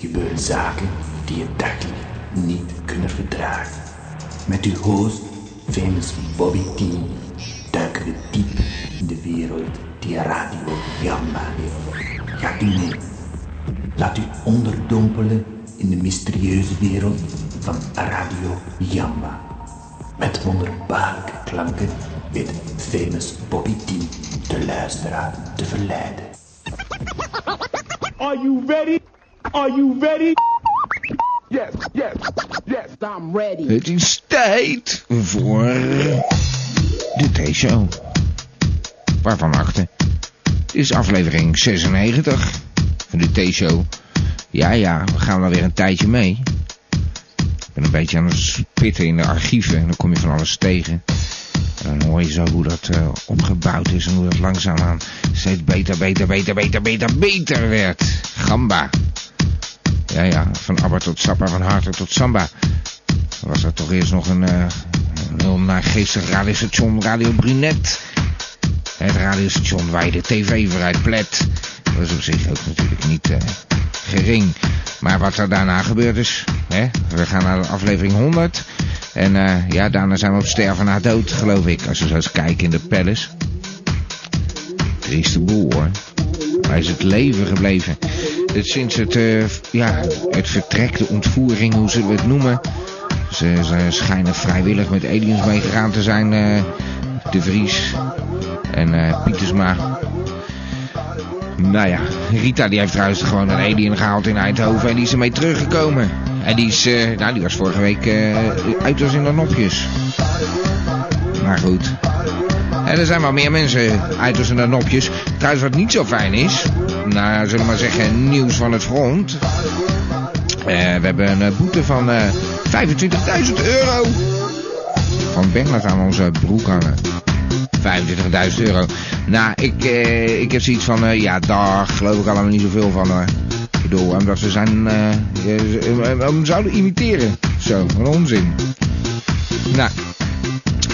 gebeuren zaken die je dagelijks niet kunnen verdragen. Met uw host, famous Bobby T, duiken we diep in de wereld die Radio Gamma heeft. Gaat u mee? Laat u onderdompelen in de mysterieuze wereld van Radio Jamba. Met wonderbaarlijke klanken weet famous Bobby T de luisteraar te verleiden. Are you ready? Are you ready? Yes, yes, yes, I'm ready. Het is tijd voor de T-show. Waarvan achten? Het is aflevering 96 van de T-show. Ja, ja, we gaan er weer een tijdje mee. Ik ben een beetje aan het pitten in de archieven en dan kom je van alles tegen. En dan hoor je zo hoe dat eh, opgebouwd is en hoe dat langzaamaan steeds beter, beter, beter, beter, beter, beter werd. Gamba. Ja, ja, van Abba tot Sappa, van Harter tot Samba. Was dat toch eerst nog een, eh een heel naargeestig radiostation, Radio Brunet. Het radiostation waar je de tv vooruit plet. Dat is op zich ook natuurlijk niet eh, gering. Maar wat er daarna gebeurd is, hè? we gaan naar aflevering 100. En eh, ja, daarna zijn we op sterven na dood, geloof ik. Als we zo eens kijken in de palace. Trieste boel hoor. Hij is het leven gebleven. Het, sinds het, eh, ja, het vertrek, de ontvoering, hoe zullen we het noemen. Ze, ze schijnen vrijwillig met aliens meegegaan te zijn. eh, de Vries en eh, Pietersma. Nou ja, Rita die heeft trouwens gewoon een alien gehaald in Eindhoven en die is ermee teruggekomen. En die is, eh, nou die was vorige week eh, uit als in de nopjes. Maar goed. En er zijn wel meer mensen uit als in de nopjes. Trouwens wat niet zo fijn is, nou ja, zullen we maar zeggen nieuws van het front. Eh, we hebben een eh, boete van eh, 25.000 euro van Bernard aan onze broek hangen. 25.000 euro. Nou, ik, eh, ik heb zoiets van, eh, ja, daar geloof ik allemaal niet zoveel van hoor. Ik bedoel, omdat ze zijn, eh, eh, eh, hem zouden imiteren. Zo, een onzin. Nou,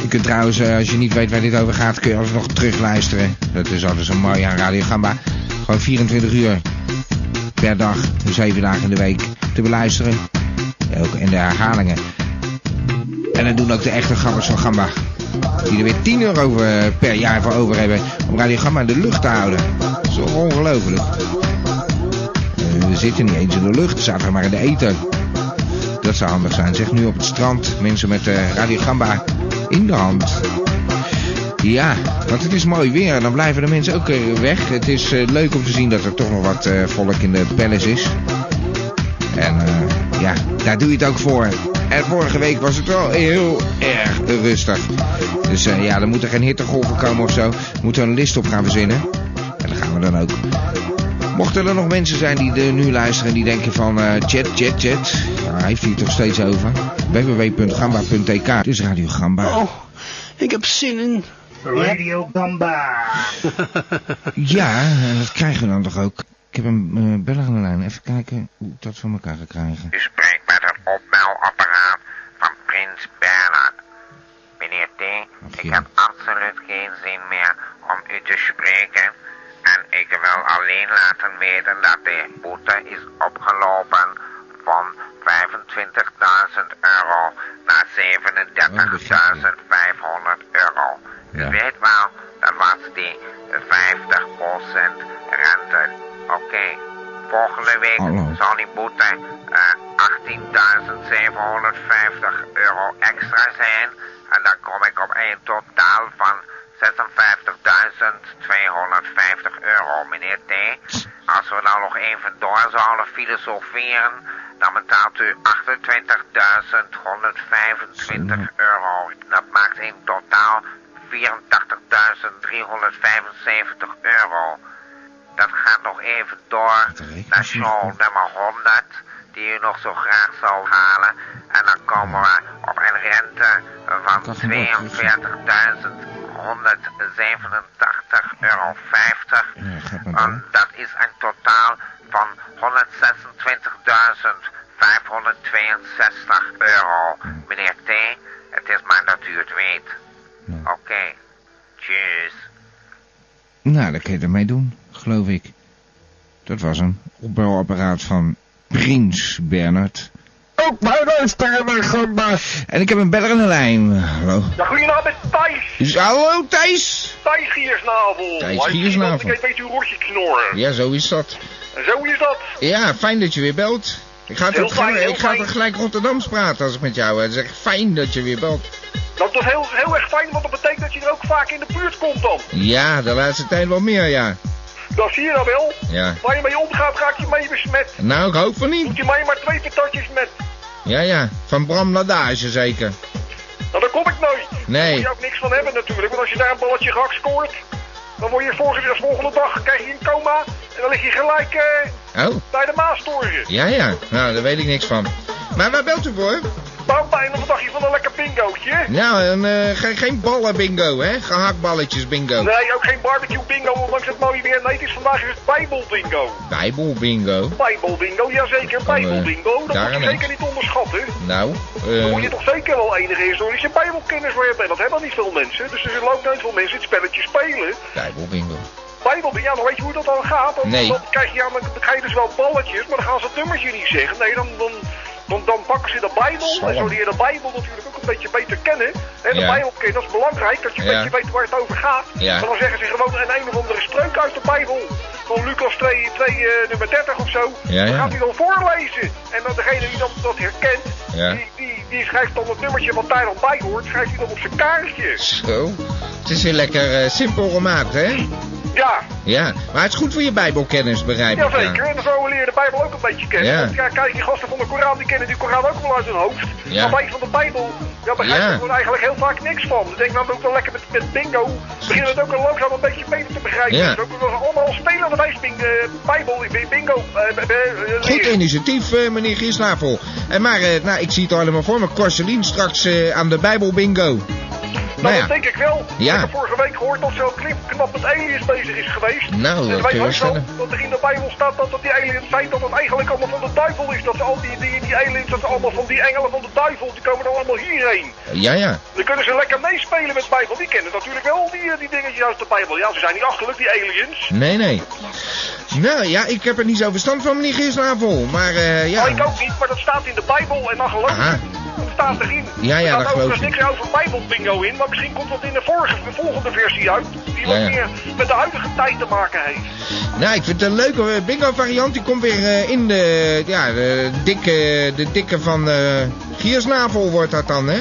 je kunt trouwens, eh, als je niet weet waar dit over gaat, kun je alsnog terugluisteren. Dat is altijd zo mooi aan Radio Gamba. Gewoon 24 uur per dag, 7 dagen in de week te beluisteren. Ook in de herhalingen. En dat doen ook de echte gabbers van Gamba. Die er weer 10 euro eh, per jaar voor over hebben om Radio Gamba in de lucht te houden. Dat is toch ongelooflijk. Eh, We zitten niet eens in de lucht, zaten we maar in de eten. Dat zou handig zijn. Zeg nu op het strand, mensen met eh Radio Gamba in de hand. Ja, want het is mooi weer en dan blijven de mensen ook eh, weg. Het is eh, leuk om te zien dat er toch nog wat eh, volk in de palace is. En eh, ja, daar doe je het ook voor. En vorige week was het wel heel erg rustig. Dus eh, ja, er moeten geen hittegolven komen of zo. We moeten een list op gaan verzinnen. En dat gaan we dan ook. Mochten er nog mensen zijn die er nu luisteren en die denken van eh, chat, chat, chat. Ja, hij heeft hier toch steeds over. www.gamba.tk. Het is Radio Gamba. Oh, Ik heb zin in. Radio Gamba. Ja, en dat krijgen we dan toch ook. Ik heb een eh beller aan de lijn. Even kijken hoe ik dat voor elkaar ga krijgen. U spreekt met het opbelapparaat van Prins Bernhard. Meneer T, ik heb absoluut geen zin meer om u te spreken. En ik wil alleen laten weten dat de boete is opgelopen van 25.000 euro naar 37.500 euro. U Ja. weet wel, dat was die 50% rente. Oké, volgende week Hallo. zal die boete eh, 18.750 euro extra zijn. En dan kom ik op een totaal van 56.250 euro, meneer T. Als we nou nog even door zouden filosoferen, dan betaalt u 28.125 euro. Dat maakt in totaal 84.375 euro. Dat gaat nog even door naar show nummer 100, die u nog zo graag zou halen. En dan komen we op een rente van 42.187,50 euro. En dat is een totaal van 126.562 euro. Meneer T, het is maar dat u het weet. Oké, tjus. Nou, dat kun je ermee doen, geloof ik. Dat was een opbouwapparaat van Prins Bernard. Ook mijn luisteren, gamba. En ik heb een beller in de lijn. Hallo. Ja, goedenavond met Thijs. Dus, hallo Thijs. Thijs Giersnavel. Thijs Giersnavel. Ik weet een beetje uw rotje knorren. Ja, zo is dat. En zo is dat. Ja, fijn dat je weer belt. Ik ga Heel toch fijn, heel ik ga fijn. toch gelijk Rotterdams praten als ik met jou... Het is echt fijn dat je weer belt. Dat is toch heel, heel erg fijn, want dat betekent dat je er ook vaak in de buurt komt dan. Ja, de laatste tijd wel meer, ja. Dat zie je dan wel. Ja. Waar je mee omgaat, ga ik je mee besmet. Nou, ik hoop van niet. Moet je mij maar twee patatjes met. Ja, ja. Van Bram Ladage zeker. Nou, daar kom ik nooit. Daar moet Nee. je ook niks van hebben natuurlijk, want als je daar een balletje gehakt scoort... Dan word je volgende, volgende dag krijg je een coma en dan lig je gelijk eh, Oh, bij de Maastoren. ja, ja. Nou, daar weet ik niks van. Maar waar belt u voor? Nou, bijna een dagje van een lekker bingootje. Nou, een, eh, ge- geen ballen bingo, hè? Gehaktballetjes bingo. Nee, ook geen barbecue bingo, ondanks het mooie weer. Nee, het is vandaag is het bijbelbingo. Bijbel bingo. Bijbelbingo, jazeker, Kan, eh, bijbelbingo. Dat daar moet je aan zeker niet onderschatten. Nou, Daar moet eh je toch zeker wel enige historische bijbelkennis voor hebben. En dat hebben niet veel mensen. Dus er zullen ook nooit veel mensen het spelletje spelen. Bijbel bingo. Bijbelbingo, ja, dan weet je hoe dat dan gaat. Dan, Nee. dan, krijg je, ja, dan krijg je dus wel balletjes, maar dan gaan ze het nummertje niet zeggen. Nee, dan... dan dan, dan pakken ze de Bijbel Zo. en zo leer je de Bijbel natuurlijk ook een beetje beter kennen. En de Ja. Bijbel kennen, dat is belangrijk, dat je een Ja. beetje weet waar het over gaat. Ja. Maar dan zeggen ze gewoon een, een of andere spreuk uit de Bijbel. Van Lucas 2, 2 eh, nummer 30 of zo. Ja, Dan ja. gaat hij dan voorlezen. En dan degene die dat, dat herkent, Ja. die, die, die schrijft dan het nummertje wat daar dan bij hoort, schrijft hij dan op zijn kaartje. Zo. Het is weer lekker eh, simpel gemaakt, hè? Ja, Ja. Maar het is goed voor je bijbelkennis, begrijp ik. jazeker. En dan eh, zo leer je de Bijbel ook een beetje kennen. Ja. Want ja, kijk, die gasten van de Koran, die kennen die Koran ook wel uit hun hoofd. Ja. Maar wij van de Bijbel, ja, begrijpen Ja. er gewoon eigenlijk heel vaak niks van. Ik denk nou ook wel lekker met, met bingo, beginnen het ook al langzaam een beetje beter te begrijpen. Ja. Dus ook we allemaal spelen de wijs bing- eh, Bijbel, eh, bingo, eh, eh, eh, Goed leren. initiatief, eh, meneer Giersnavel. En maar, eh, nou, ik zie het al helemaal voor me. Corselien straks eh, aan de Bijbel bingo. Nou, Nou ja. dat denk ik wel. Ja. Ik heb vorige week gehoord dat zo'n clip knap met aliens bezig is geweest. Nou, en dat wij kun je ook wel stellen. dat er in de Bijbel staat dat, dat die aliens zijn, dat het eigenlijk allemaal van de duivel is. Dat ze al die, die, die aliens, dat ze allemaal van die engelen van de duivel, die komen dan allemaal hierheen. Ja, ja. Dan kunnen ze lekker meespelen met de Bijbel. Die kennen natuurlijk wel die, eh, die dingetjes uit de Bijbel. Ja, ze zijn niet achterlijk, die aliens. Nee, nee. Nou ja, ik heb er niet zo verstand van, meneer Giersnavel. Maar eh, ja. Maar Oh, ik ook niet, maar dat staat in de Bijbel en dan geloof ik. Aha. Dat staat erin. Ja, ja, er dat staat geloof overigens ik. niks over Bijbelbingo in, maar misschien komt dat in de, vorige, de volgende versie uit. Die wat Ja, ja. meer met de huidige tijd te maken heeft. Nou, ik vind het een leuke bingo variant. Die komt weer eh, in de, ja, de, dikke, de dikke van eh Giersnavel wordt dat dan, hè?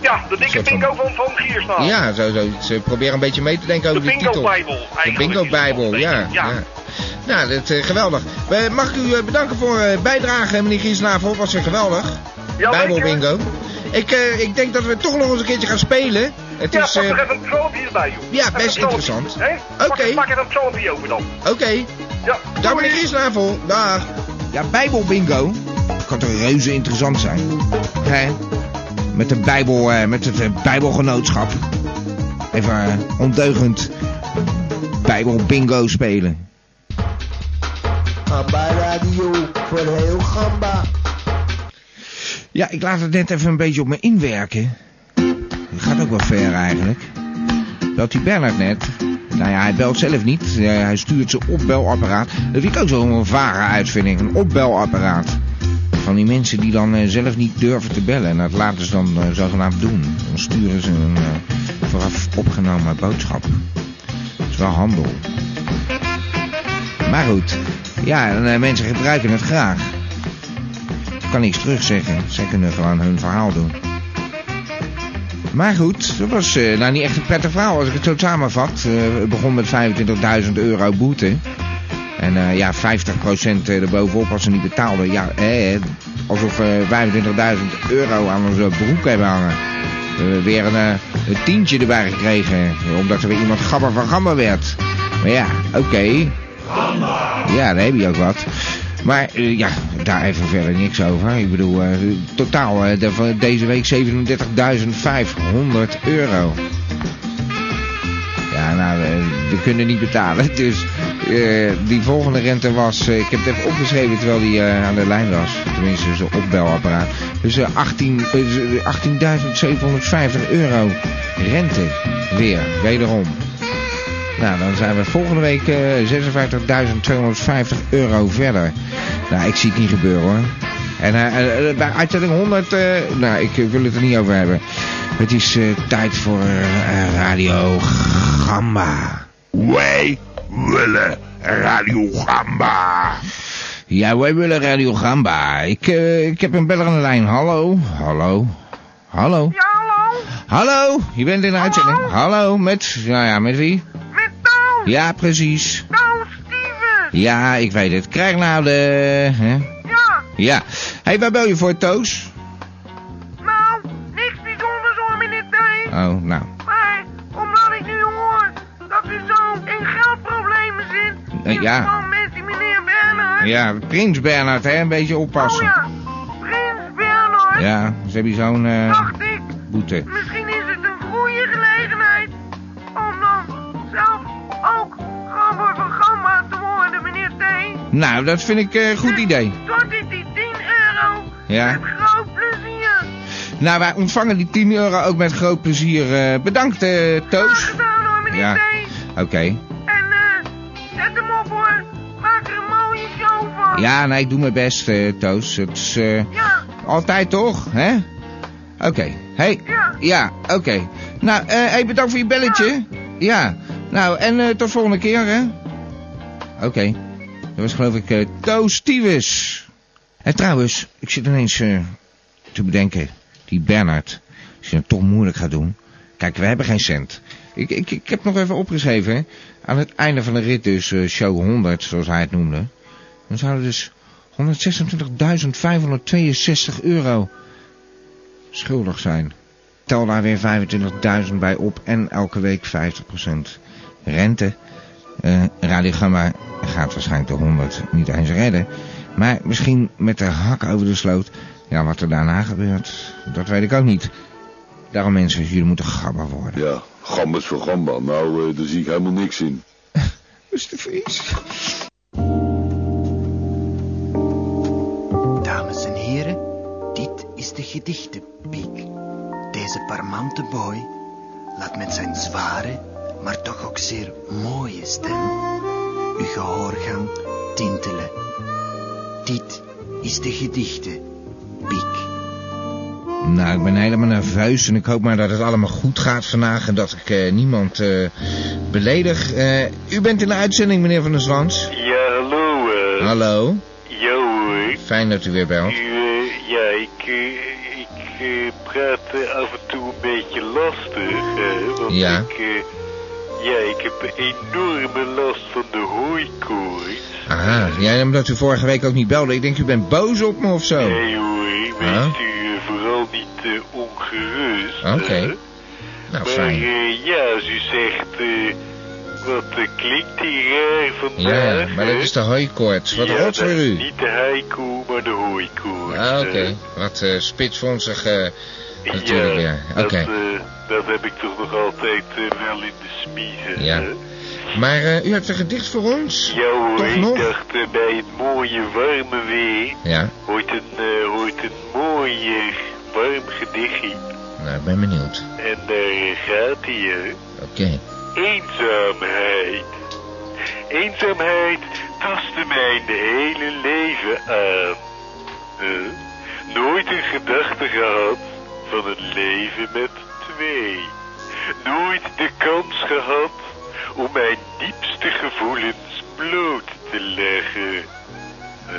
Ja, de dikke Soort van- bingo van, van Giersnaam. Ja, zo, zo. Ze proberen een beetje mee te denken Oh. De over de, titel. bingo-bijbel. De eigenlijk is het bingo-bijbel, wel, ja, weet je. ja. Ja. Nou, dat, eh, geweldig. Eh, mag ik u eh, bedanken voor eh, bijdrage, meneer Giersnavel. Was weer geweldig. Ja, Bijbelbingo. Ik, eh, ik denk dat we toch nog eens een keertje gaan spelen. Het Ja, is... pak eh, er even een psalmpje bij, joh. ja, Even best een psalmpje, interessant. hè? Pak- Oké. Pak er een psalmpje over dan. Oké. Ja, Dag doei. meneer Giersnavel, dag. Ja, Bijbelbingo. Kan toch reuze interessant zijn? Hè? Met, de Bijbel, eh, met het eh, Bijbelgenootschap. Even eh, ondeugend Bijbelbingo spelen. Gamba Radio voor heel Gamba. Ja, ik laat het net even een beetje op me inwerken. Dat gaat ook wel ver eigenlijk. Belt die Bernard net? Nou ja, hij belt zelf niet. Eh, hij stuurt zijn opbelapparaat. Dat vind ik ook zo'n vage uitvinding. Een opbelapparaat. Van die mensen die dan eh, zelf niet durven te bellen. En dat laten ze dan eh, zogenaamd doen. Dan sturen ze een eh, vooraf opgenomen boodschap. Dat is wel handel. Maar goed. Ja, en, eh, mensen gebruiken het graag. Ik kan niks terugzeggen. Zij kunnen gewoon hun verhaal doen. Maar goed, dat was eh, nou niet echt een prettig verhaal als ik het zo samenvat. Eh, het begon met 25.000 euro boete. En eh, ja, 50% erbovenop als ze niet betaalden. Ja, eh, alsof we 25.000 euro aan onze broek hebben hangen. We hebben weer een, eh, een tientje erbij gekregen. Omdat er weer iemand gabber van gammer werd. Maar ja, oké. Ja, daar heb je ook wat. Maar eh, ja, daar even verder niks over. Ik bedoel, eh, totaal eh, de- van deze week 37.500 euro. Ja, nou, eh, we kunnen niet betalen. Dus eh, die volgende rente was, eh, ik heb het even opgeschreven terwijl die eh, aan de lijn was. Tenminste, zijn opbelapparaat. Dus eh, 18 eh, 18.750 euro rente weer, wederom. Nou, dan zijn we volgende week eh 56.250 euro verder. Nou, ik zie het niet gebeuren hoor. En eh, eh, bij uitzending 100, eh, nou, ik eh, wil het er niet over hebben. Het is eh, tijd voor eh, Radio Gamba. Wij willen Radio Gamba. Ja, wij willen Radio Gamba. Ik, eh, ik heb een beller aan de lijn. Hallo, hallo, hallo. Ja, hallo. Hallo, je bent in de uitzending. Hallo, met, nou ja, met wie? Met Toon. Ja, precies. Toon Stevens. Ja, ik weet het. Krijg nou de... Hè? Ja, Ja. hey, waar bel je voor, Toos? nou, niks bijzonders hoor, meneer T. Oh, nou. Maar omdat ik nu hoor dat u zo in geldproblemen zit. Eh, in ja. verband met die meneer Bernhard. Ja, Prins Bernhard, hè? Een beetje Oh oppassen. ja, Prins Bernhard. Ja, ze hebben hier zo'n eh Dacht ik, boete. misschien is het een goede gelegenheid om dan zelf ook gewoon van Gamma te worden, meneer T. Nou, dat vind ik eh, een goed idee. Tot dit die 10 euro. Ja. Met groot plezier. Nou, wij ontvangen die 10 euro ook met groot plezier. eh, bedankt, eh, Graag Toos. gedaan hoor, meneer Ja. T. Oké. En eh, zet hem op hoor. Maak er een mooie show van. Ja, nee, ik doe mijn best, eh, Toos. Het is eh, Ja. altijd toch, hè? Oké. Hey. Ja. oké. Nou, eh hey, bedankt voor je belletje. Ja. Nou, en eh, tot volgende keer, hè? Oké. Dat was geloof ik eh Toos Tiewes. En trouwens, ik zit ineens eh, te bedenken. Die Bernard, als je het toch moeilijk gaat doen. Kijk, we hebben geen cent. Ik, ik, ik heb nog even opgeschreven, hè. Aan het einde van de rit dus, eh, show 100, zoals hij het noemde. Dan zouden dus 126.562 euro schuldig zijn. Tel daar weer 25.000 bij op en elke week 50% rente. Eh Radio Gamma gaat waarschijnlijk de 100 niet eens redden. Maar misschien met de hak over de sloot. Ja, wat er daarna gebeurt, dat weet ik ook niet. Daarom mensen, jullie moeten gabber worden. Ja, gambas voor gamba. Nou, eh, daar zie ik helemaal niks in. Is de feest? Dames en heren, dit is de gedichtenpiek. Deze parmante boy laat met zijn zware, maar toch ook zeer mooie stem uw gehoorgang tintelen. Dit is de gedichtenpiek. Nou, ik ben helemaal nerveus en ik hoop maar dat het allemaal goed gaat vandaag en dat ik eh, niemand eh, beledig. Eh, u bent in de uitzending, meneer Van der Zwans. Ja, hallo. eh. Hallo, Ja hoor. fijn dat u weer belt. U, eh, ja, ik, eh, ik eh, praat eh, af en toe een beetje lastig. eh, want Ja. ik, eh, ja, ik heb enorme last van de hooikoorts. Aha, ja, omdat u vorige week ook niet belde. Ik denk, u bent boos op me of zo. Nee hoor, wees Huh? u eh, vooral niet eh, ongerust. Oké. eh. Nou, maar fijn. eh, ja, als u zegt, eh, wat eh, klinkt hier raar vandaag. Ja, maar dat hè? is de hooikoorts. Wat ja, rots dat voor is u. Niet de haiku, maar de hooikoorts. Ah, oké. eh. Wat eh spitsvonzig eh, natuurlijk weer. Oké. dat, eh, dat heb ik toch nog altijd eh, wel in de smiezen. Ja. hè. Maar eh, u hebt een gedicht voor ons? Ja hoor, Toch ik nog? dacht eh, bij het mooie warme weer Ja, hoort een, eh, hoort een mooi eh, warm gedichtje. nou, ik ben benieuwd. En daar eh, gaat hij. eh. Oké. Eenzaamheid. Eenzaamheid tastte mijn hele leven aan. Eh, nooit een gedachte gehad van een leven met twee. Nooit de kans gehad om mijn diepste gevoelens bloot te leggen. Eh,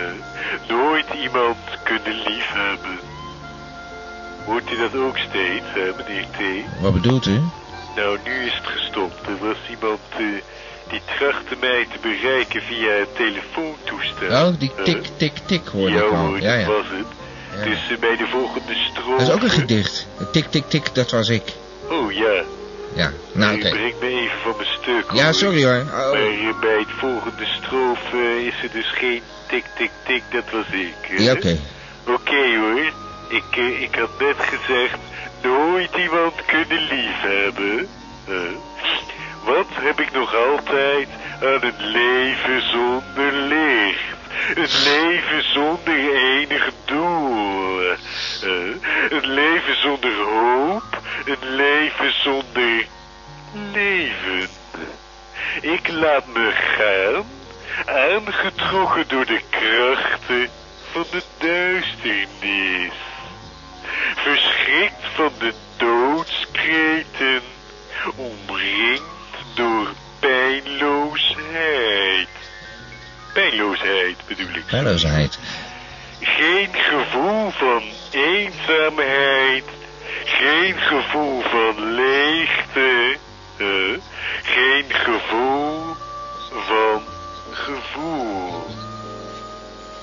nooit iemand kunnen liefhebben. Hoort u dat ook steeds, hè, meneer T? Wat bedoelt u? Nou, nu is het gestopt. Er was iemand eh, die trachtte mij te bereiken via het telefoontoestel. Oh, die tik, tik, tik hoorde Eh, ja, ik al. hoor, Ja, dat ja. was het. Dus eh, bij de volgende stroom. Dat is ook een gedicht. Tik, tik, tik, dat was ik. Oh ja. Ja, nou U oké. brengt me even van mijn stuk. Ja, sorry, hoor. Oh. Maar eh, bij het volgende strofe eh, is er dus geen tik, tik, tik, dat was ik. eh. Ja, oké. Oké hoor, ik, eh, ik had net gezegd nooit iemand kunnen liefhebben. Eh, wat heb ik nog altijd aan een leven zonder licht? Een leven zonder enig doel. Eh, een leven zonder hoop. Een leven zonder leven. laat me gaan, aangetrokken door de krachten van de duisternis. Verschrikt van de doodskreten, omringd door pijnloosheid. Pijnloosheid bedoel ik. Pijnloosheid. Geen gevoel van eenzaamheid, geen gevoel van leegte, eh, geen gevoel van gevoel.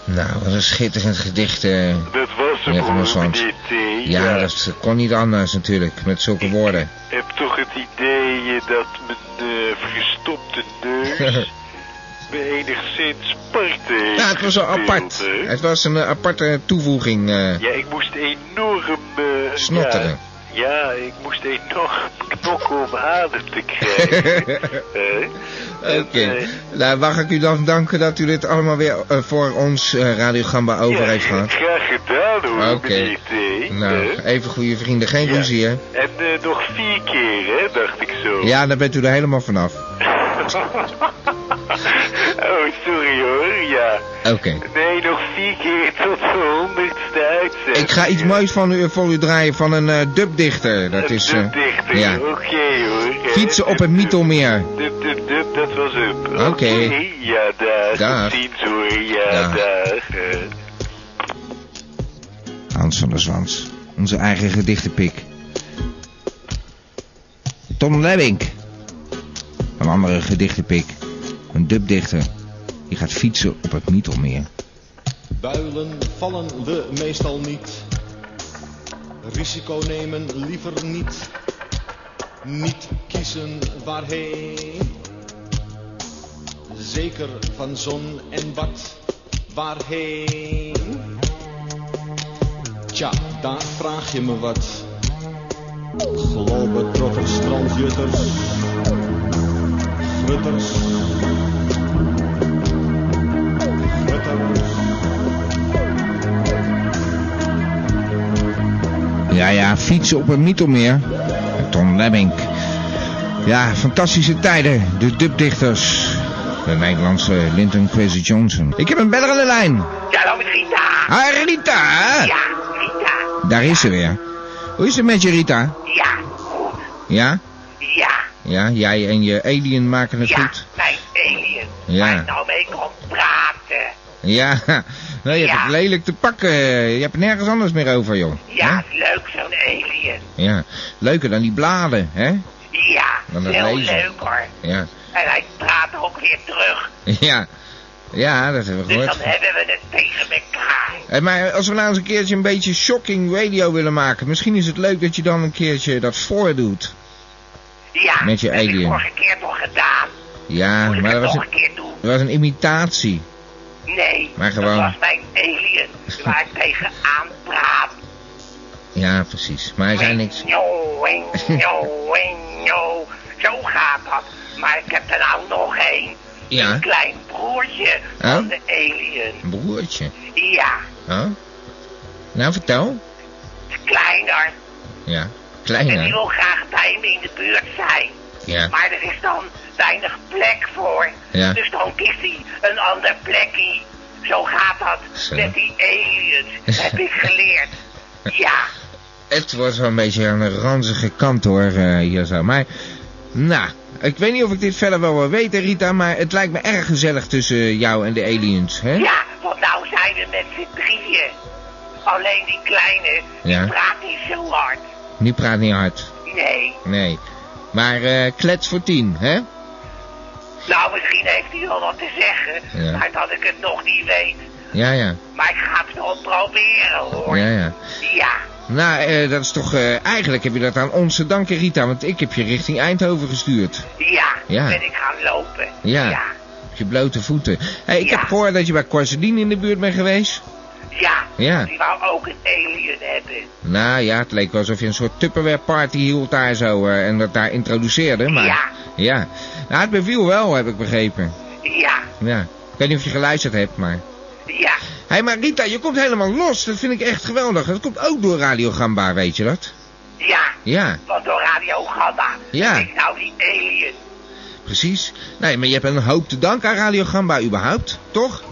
Nou, wat een schitterend gedicht. eh, Dat was meneer hem Van hoor, Oswald. meneer T. Ja, dat kon niet anders natuurlijk, met zulke woorden. Ik heb toch het idee eh, dat mijn eh, verstopte neus me enigszins apart heeft Ja, het was wel gespeeld, apart. hè. Het was een eh, aparte toevoeging. eh. Ja, ik moest enorm... eh, Snotteren. Ja, ja, ik moest enorm knokken om adem te krijgen. hè. Oké. Eh, Nou, mag ik u dan danken dat u dit allemaal weer eh, voor ons eh, Radio Gamba over heeft gehad? Graag gedaan hoor, Ah, Oké. meneer T. Nou, hè. even goede vrienden, geen ruzie, hè? En eh, nog vier keer, hè, dacht ik zo. Ja, daar bent u er helemaal vanaf. oh, sorry hoor, ja. Oké. Nee, nog vier keer tot de honderdste uitzending. Ik ga iets moois van u, voor u draaien van een eh, dubdichter. Dat is... eh, Dichter, ja. oké hoor. hè. Fietsen op het Mythelmeer. Dup, dup, dup, dat was hem. Oké. Ja, dag. Dag. Tot ziens hoor, ja, eh. Dag. dag. hè. Hans van der Zwans. Onze eigen gedichtenpik. Tom Lemmink. Een andere gedichtenpik. Een dubdichter. Die gaat fietsen op het Mythelmeer. Builen vallen we meestal niet. Risico nemen liever niet. Niet kiezen waarheen. Zeker van zon en wat waarheen. Tja, daar vraag je me wat. Globetrotters, strandjutters, frutters, frutters. Ja, ja, fietsen op het Mythelmeer. Tom Lemmink. Ja, fantastische tijden. De dubdichters. De Nederlandse Linton Kwesi Johnson. Ik heb een beller aan de lijn. Ja, dan met Rita. Ah, Rita! Ja, Rita. Daar is ze weer. Hoe is het met je, Rita? Ja, Ja? ja. Ja, jij en je alien maken het ja, goed. mijn alien. Ja. Waar ik nou mee kon praten. Ja, nou, je hebt het lelijk te pakken. Je hebt het nergens anders meer over, joh. Ja, leuk zo'n alien. Ja, leuker dan die bladen, hè? Ja, Dan dat heel lezen. leuk hoor. Ja, En hij praat ook weer terug. ja, ja dat hebben we Dus gehoord. dan hebben we het tegen elkaar. Hé, maar als we nou eens een keertje een beetje shocking radio willen maken... misschien is het leuk dat je dan een keertje dat voordoet. Ja, Met je dat heb ik alien. vorige keer toch gedaan. Ja, maar dat was nog een, dat was een imitatie. Nee, Maar gewoon. dat was mijn alien waar ik tegenaan praat. Ja, precies. Maar hij zei niks. Njo, en njo, en njo. Zo gaat dat. Maar ik heb er nou nog één. Ja. Een klein broertje Oh. van de alien. Een broertje. Ja, Huh? Nou, vertel. kleiner. Ja, En die kleiner. wil graag bij me in de buurt zijn. Ja. Maar er is dan weinig plek voor. Ja. Dus dan kiest hij een ander plekje. Zo gaat dat Zo. met die aliens, heb ik geleerd. Ja, Het wordt wel een beetje aan de ranzige kant hoor, eh, hier zo. Maar, nou, ik weet niet of ik dit verder wel wil weten, Rita, maar het lijkt me erg gezellig tussen jou en de aliens, hè? ja, want nou zijn we met z'n drieën. Alleen die kleine, die Ja. praat niet zo hard. Nu praat niet hard. Nee. Nee. Maar eh, klets voor tien, hè? Nou, misschien heeft hij wel wat te zeggen, Ja. maar dat ik het nog niet weet. Ja, ja. Maar ik ga het wel proberen, hoor. Ja, ja. Ja, Nou, eh, dat is toch... eh, eigenlijk heb je dat aan ons te danken, Rita, want ik heb je richting Eindhoven gestuurd. ja, Ja. ben ik gaan lopen. Ja. Op je blote voeten. Hey, ik heb gehoord dat je bij Corsadine in de buurt bent geweest. Ja, Ja. die wou ook een alien hebben. Nou ja, het leek wel alsof je een soort Tupperware party hield daar zo eh, en dat daar introduceerde, maar... Ja. Ja. Nou, het beviel wel, heb ik begrepen. Ja, Ja. Ik weet niet of je geluisterd hebt, maar... ja, Hé, hey, maar Rita, je komt helemaal los. Dat vind ik echt geweldig. Dat komt ook door Radio Gamba, weet je dat? ja. Ja. Want door Radio Gamma Ja. ben ik nou die alien. Precies. Nee, maar je hebt een hoop te danken aan Radio Gamba überhaupt, toch?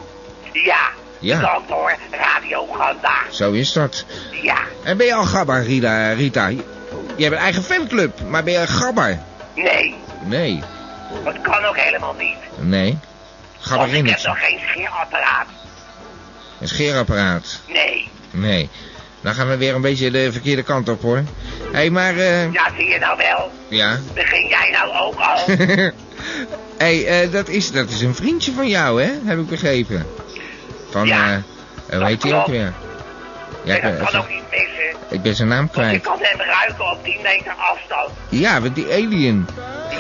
Ja, Ja. bedankt hoor, Radio Gamba. Zo is dat. Ja, En ben je al gabber, Rita? Rita? Je hebt een eigen fanclub, maar ben je een gabber? nee, Nee, dat kan ook helemaal niet. Oh, nee. Want ik heb Gabberinnetje. nog geen scheerapparaat. Een scheerapparaat. Nee. Nee. Dan gaan we weer een beetje de verkeerde kant op, hoor. Hé, hey, maar... eh Ja, zie je nou wel? Ja. Begin jij nou ook al? Hé, hey, eh, dat, is, dat is een vriendje van jou, hè? Heb ik begrepen. Van, eh, hoe heet hij ook klopt. weer? Ja, En ik ben, dat kan ook even- niet missen. ik ben zijn naam Want je kwijt. kan hem ruiken op 10 meter afstand. Ja, met die alien.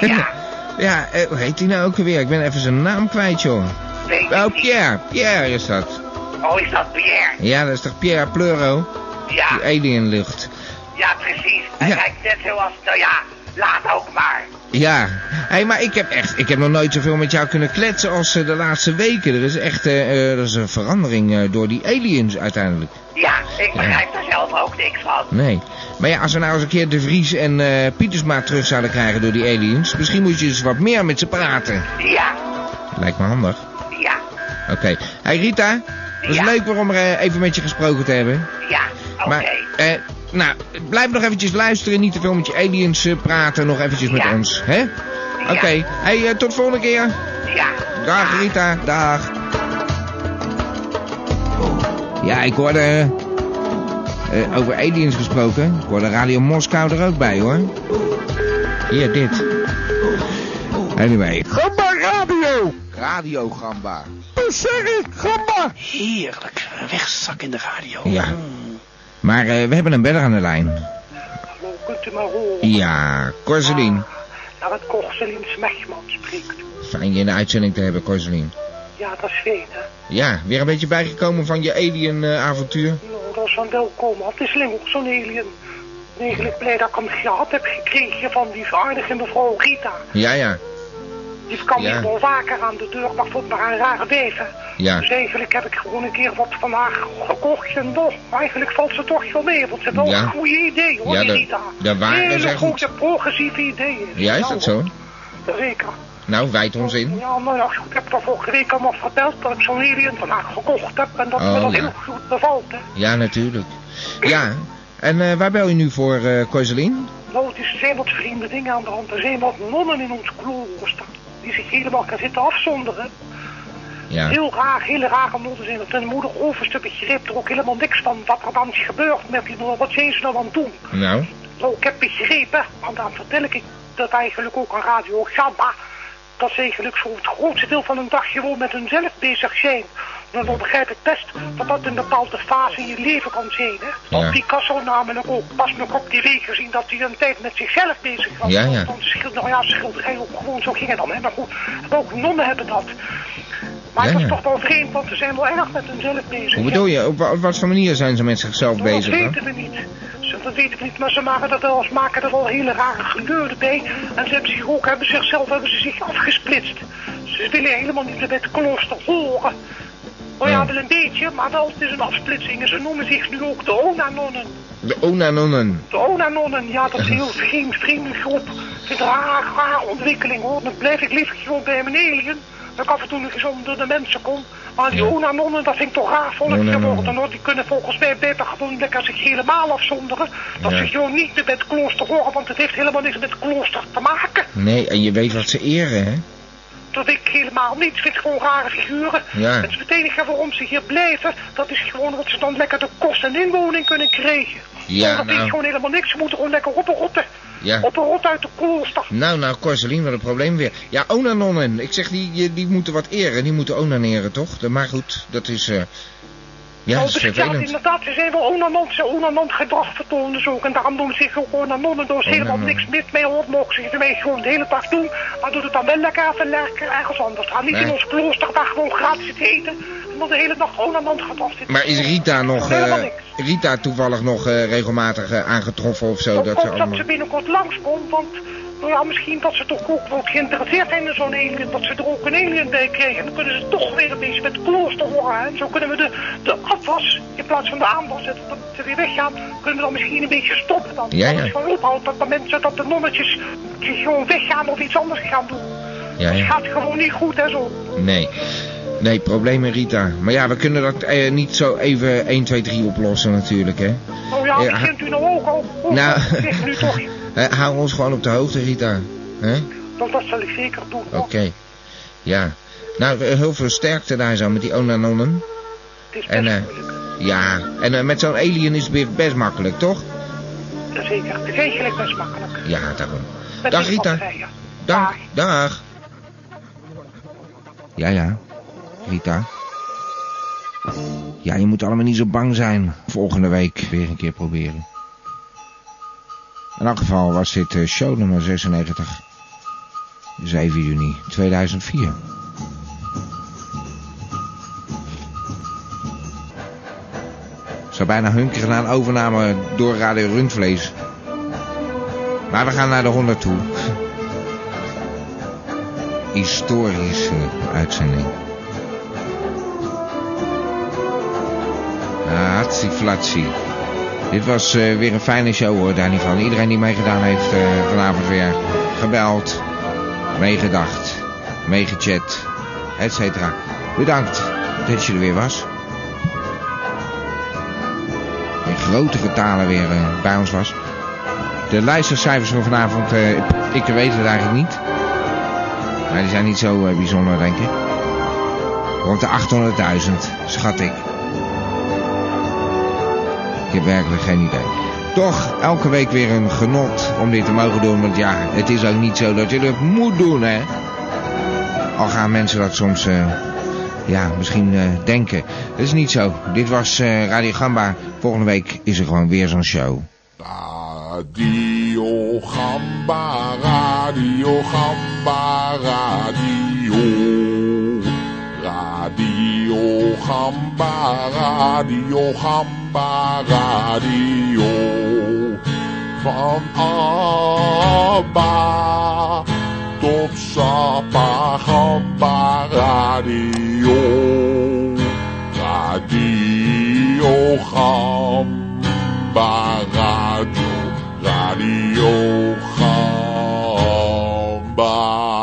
Ja. ja, eh, hoe heet hij nou ook weer? Ik ben even zijn naam kwijt, joh. Weet ik Oh, niet. Pierre. Pierre is dat. Oh, is dat Pierre? Ja, dat is toch Pierre Pleuro? Ja. Die alienlucht. Ja, precies. eh. Hij Ja. lijkt net zoals... Nou ja, laat ook maar. Ja. Hé, maar ik heb echt... Ik heb nog nooit zoveel met jou kunnen kletsen als eh, de laatste weken. Er is echt... eh, eh, er is een verandering eh, door die aliens uiteindelijk. Ja, ik begrijp daar zelf ook niks van. Nee. Maar ja, als we nou eens een keer De Vries en eh Pietersma terug zouden krijgen door die aliens... Misschien moet je eens wat meer met ze praten. Ja, Lijkt me handig. ja, Oké. Hey Rita, het is leuk weer om er, eh, even met je gesproken te hebben. ja. Oké. Maar, eh, nou, blijf nog eventjes luisteren. Niet te veel met je aliens eh, praten. Nog eventjes met ons, hè? Oké. Hey, eh, tot volgende keer. Ja. Dag Rita, dag. Ja, ik hoorde... eh, eh, over aliens gesproken. Ik hoorde Radio Moskou er ook bij, hoor. Hier, dit. Anyway. Gamba Radio! Radio Gamba. Dat zeg ik, Gamba! Heerlijk. Een Wegzak in de radio. Ja. Maar eh, we hebben een beller aan de lijn. Hallo, kunt u me horen? Ja, Corselien. Naar het Korselien Smegman spreekt. Fijn je in de uitzending te hebben, Corselien. Ja, dat is fijn, hè? Ja, weer een beetje bijgekomen van je eh, alien-avontuur. Nou, dat is dan welkom. Het is lang ook zo'n alien. Ik ben Eigenlijk blij dat ik hem gehad heb gekregen van die aardige mevrouw Rita. ja, ja, Die kan Ja. hier wel vaker aan de deur, maar vond maar een rare weven. ja. Dus eigenlijk heb ik gewoon een keer wat van haar gekocht en nog. Maar eigenlijk valt ze toch wel mee, want ze heeft wel Ja. een goede idee, hoor, Ja, die de- Rita. de waarden Hele zijn goed. goede progressieve ideeën. Ja, is Nou, dat zo? Zeker. Nou, wijd ons in. Ja, nou ja, ik heb er vorige week allemaal verteld dat ik zo'n alien van haar gekocht heb en dat Oh, me dat ja. heel goed bevalt. Hè. Ja, natuurlijk. Ja, en eh, waar bel je nu voor, eh Corselien? Nou, het is, er zijn wat vreemde dingen aan de hand. Er zijn wat nonnen in ons klooster die zich helemaal gaan zitten afzonderen. Ja, Heel raar, hele rare nonnen zijn. dat. En de moeder overste begreep er ook helemaal niks van wat er dan is gebeurd met die nonnen. Wat zijn ze nou aan het doen? nou, Nou, ik heb begrepen, want dan vertel ik dat eigenlijk ook aan Radio Gamba. Dat ze eigenlijk voor het grootste deel van hun dag gewoon met hunzelf bezig zijn. En dan begrijp ik best dat dat een bepaalde fase in je leven kan zijn. Hè? Want Ja. Picasso namelijk ook pas nog op tv gezien dat hij een tijd met zichzelf bezig was. Ja, ja. Want schilder, nou ja, schilderij ook gewoon zo ging het dan. Hè? Maar goed, ook nonnen hebben dat. Maar Ja, dat is ja. toch wel vreemd, want ze zijn wel erg met hunzelf bezig. Hoe bedoel je? Op, wa- op wat voor manier zijn ze met zichzelf Nou, bezig? Dat dan? weten we niet. Ze, dat weten we niet, maar ze maken, dat wel, ze maken er wel hele rare geuren bij. En ze hebben zich ook, hebben zichzelf hebben ze zich afgesplitst. Ze willen helemaal niet meer bij het klooster horen. Nou ja, wel een beetje, maar wel, het is een afsplitsing. En ze noemen zich nu ook de Onanonnen. De Onanonnen. De Onanonnen, ja, dat is een heel vreemd, vreemde groep. Ik vind het een raar, raar ontwikkeling hoor. Dan blijf ik liever gewoon bij mijn alien. Dat ik af en toe nog eens onder de mensen kom. Maar die Ja. Onanonnen, dat vind ik toch raar volk Onanonnen. geworden hoor. Die kunnen volgens mij beter gewoon lekker zich helemaal afzonderen. Dat Ja. ze gewoon niet meer bij het klooster horen, want het heeft helemaal niks met het klooster te maken. Nee, en je weet wat ze eren, hè? Dat vind ik helemaal niet. Ik vind gewoon rare figuren. Ja. Het is het enige waarom ze hier blijven. Dat is gewoon dat ze dan lekker de kost en inwoning kunnen krijgen. Ja, dat is nou. gewoon helemaal niks. Ze moeten gewoon lekker opperrotten. Ja. Opperrotten uit de klooster. Nou, nou, Corselien, wat een probleem weer. Ja, oh, Onanonnen. nou. Ik zeg, die, die- die moeten wat eren. Die moeten onaneren, toch? Dat- Maar goed, dat is... eh, Ja, Nou, dat is dus ja, vervelend. inderdaad, ze zijn wel onanant, ze onanant gedrag vertonen dus ook. En daarom doen ze zich ook onanonnen, Oh, daar is helemaal Onanant. niks mis mee hoor. Mogen ze het ermee gewoon de hele dag doen, maar doet het dan wel lekker even lekker ergens anders. Ga niet Nee. in ons klooster daar gewoon gratis zitten eten en dan de hele dag onanant gedrag zitten. Maar is Rita nog... eh, Helemaal niks. Rita toevallig nog eh, regelmatig eh, aangetroffen of zo? Dan Dat ze komt dat allemaal... ze binnenkort langskomt, want nou ja, misschien dat ze toch ook wel geïnteresseerd zijn in zo'n alien, dat ze er ook een alien bij krijgen. Dan kunnen ze toch weer een beetje met het klooster horen. hè. En zo kunnen we de, de afwas, in plaats van de aanwas, dat dat ze weer weggaan, kunnen we dan misschien een beetje stoppen dan. Ja, ja. Dat is van ophoudt dat de mensen, dat de nonnetjes die gewoon weggaan of iets anders gaan doen. Ja, Het ja. gaat gewoon niet goed en zo. Nee. Nee, problemen Rita. Maar ja, we kunnen dat eh, niet zo even 1, 2, 3 oplossen natuurlijk, hè. Oh ja, Ja. begint u nou ook al. Oh, Nou, zeg nu toch. eh, hou ons gewoon op de hoogte, Rita. hè? Dat, dat zal ik zeker doen. Oké. Ja. Nou, eh, heel veel sterkte daar zo met die onanonnen. Het is En, eh, ja, en eh, met zo'n alien is het weer best makkelijk, toch? Zeker. Het is eigenlijk best makkelijk. Ja, daarom. Met Dag die Rita. batterijen. Dag. Dag. Ja, ja. Rita. Ja, je moet allemaal niet zo bang zijn. Volgende week weer een keer proberen. In elk geval was dit eh, show nummer 96. 7 juni 2004. Ik zou bijna hunkeren naar een overname door Radio Rundvlees. Maar we gaan naar de 100 toe. Historische uitzending. Ah, Hatsi flatsi. Dit was eh, weer een fijne show hoor, daar niet van. Iedereen die meegedaan heeft eh, vanavond weer gebeld, meegedacht, meegechat, et cetera. Bedankt dat je er weer was. In grote getalen weer eh, bij ons was. De luistercijfers van vanavond, eh, ik weet het eigenlijk niet. Maar die zijn niet zo eh, bijzonder, denk ik. Rond de 800.000, schat ik. Ik heb werkelijk geen idee. Toch elke week weer een genot om dit te mogen doen. Want ja, het is ook niet zo dat je dat moet doen, hè. Al gaan mensen dat soms, eh, ja, misschien eh, denken. Dat is niet zo. Dit was eh, Radio Gamba. Volgende week is er gewoon weer zo'n show. Radio Gamba, Radio Gamba, Radio. Radio Gamba, Radio Gamba, Radio. Van Abba tot Sapa Gamba, Radio. Radio Gamba, Radio. Radio Gamba.